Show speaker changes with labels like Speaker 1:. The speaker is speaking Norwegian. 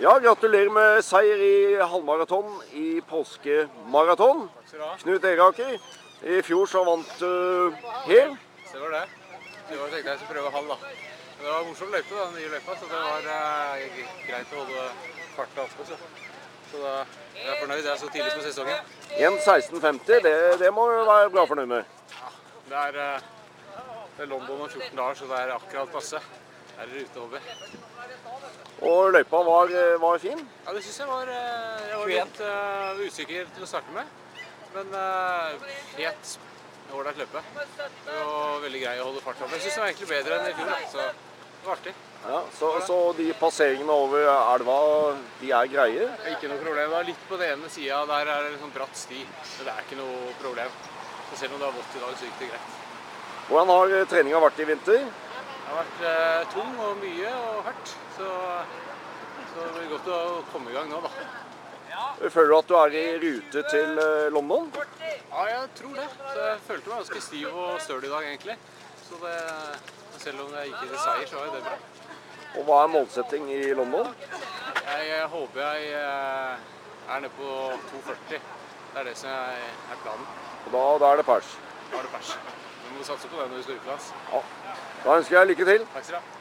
Speaker 1: Ja, gratulerer med seier i halvmaraton i påskemaraton.
Speaker 2: Takk skal du ha.
Speaker 1: Knut Eraker, i fjor så vant du hel.
Speaker 2: Så det var det. I år tenkte jeg jeg skulle prøve halv, da. Men det var morsom løype, da, den nye løypa, så det var eh, g- greit å holde farta oppe. Så, så da jeg er fornøyd. Det er så tidlig på sesongen.
Speaker 1: 1.16,50, det, det må du være bra fornøyd med.
Speaker 2: Det er, eh, det er London om 14 dager, så det er akkurat passe. Her er det rutehobby.
Speaker 1: Og løypa var, var fin.
Speaker 2: Ja, det syns jeg var eh, Jeg var litt eh, usikker til å starte med. Men uh, helt ålreit løpe. Og veldig grei å holde fart over. Jeg syns det var egentlig bedre enn i fjor, da. så det var artig.
Speaker 1: Ja, så, så de passeringene over elva, de er greie.
Speaker 2: Det er Ikke noe problem. Det er litt på den ene sida der er det en sånn bratt sti. Men det er ikke noe problem. Så selv om det er vått i dag, så gikk det greit.
Speaker 1: Hvordan har treninga vært i vinter?
Speaker 2: Det har vært eh, tung og mye og hardt. Så, så det blir godt å komme i gang nå, da.
Speaker 1: Føler du at du er i rute til eh, London?
Speaker 2: Ja, jeg tror det. Så jeg følte meg ganske stiv og støl i dag, egentlig. Så det, selv om jeg gikk til seier, så var jo det bra.
Speaker 1: Og hva er målsetting i London?
Speaker 2: Jeg, eh, håper jeg eh, er nede på 2,40. Det er det som er er planen.
Speaker 1: Og da, da er det pers.
Speaker 2: Da er det pers. Du må satse på det når du skal utenlands.
Speaker 1: Da ønsker jeg lykke til.
Speaker 2: Takk skal du ha.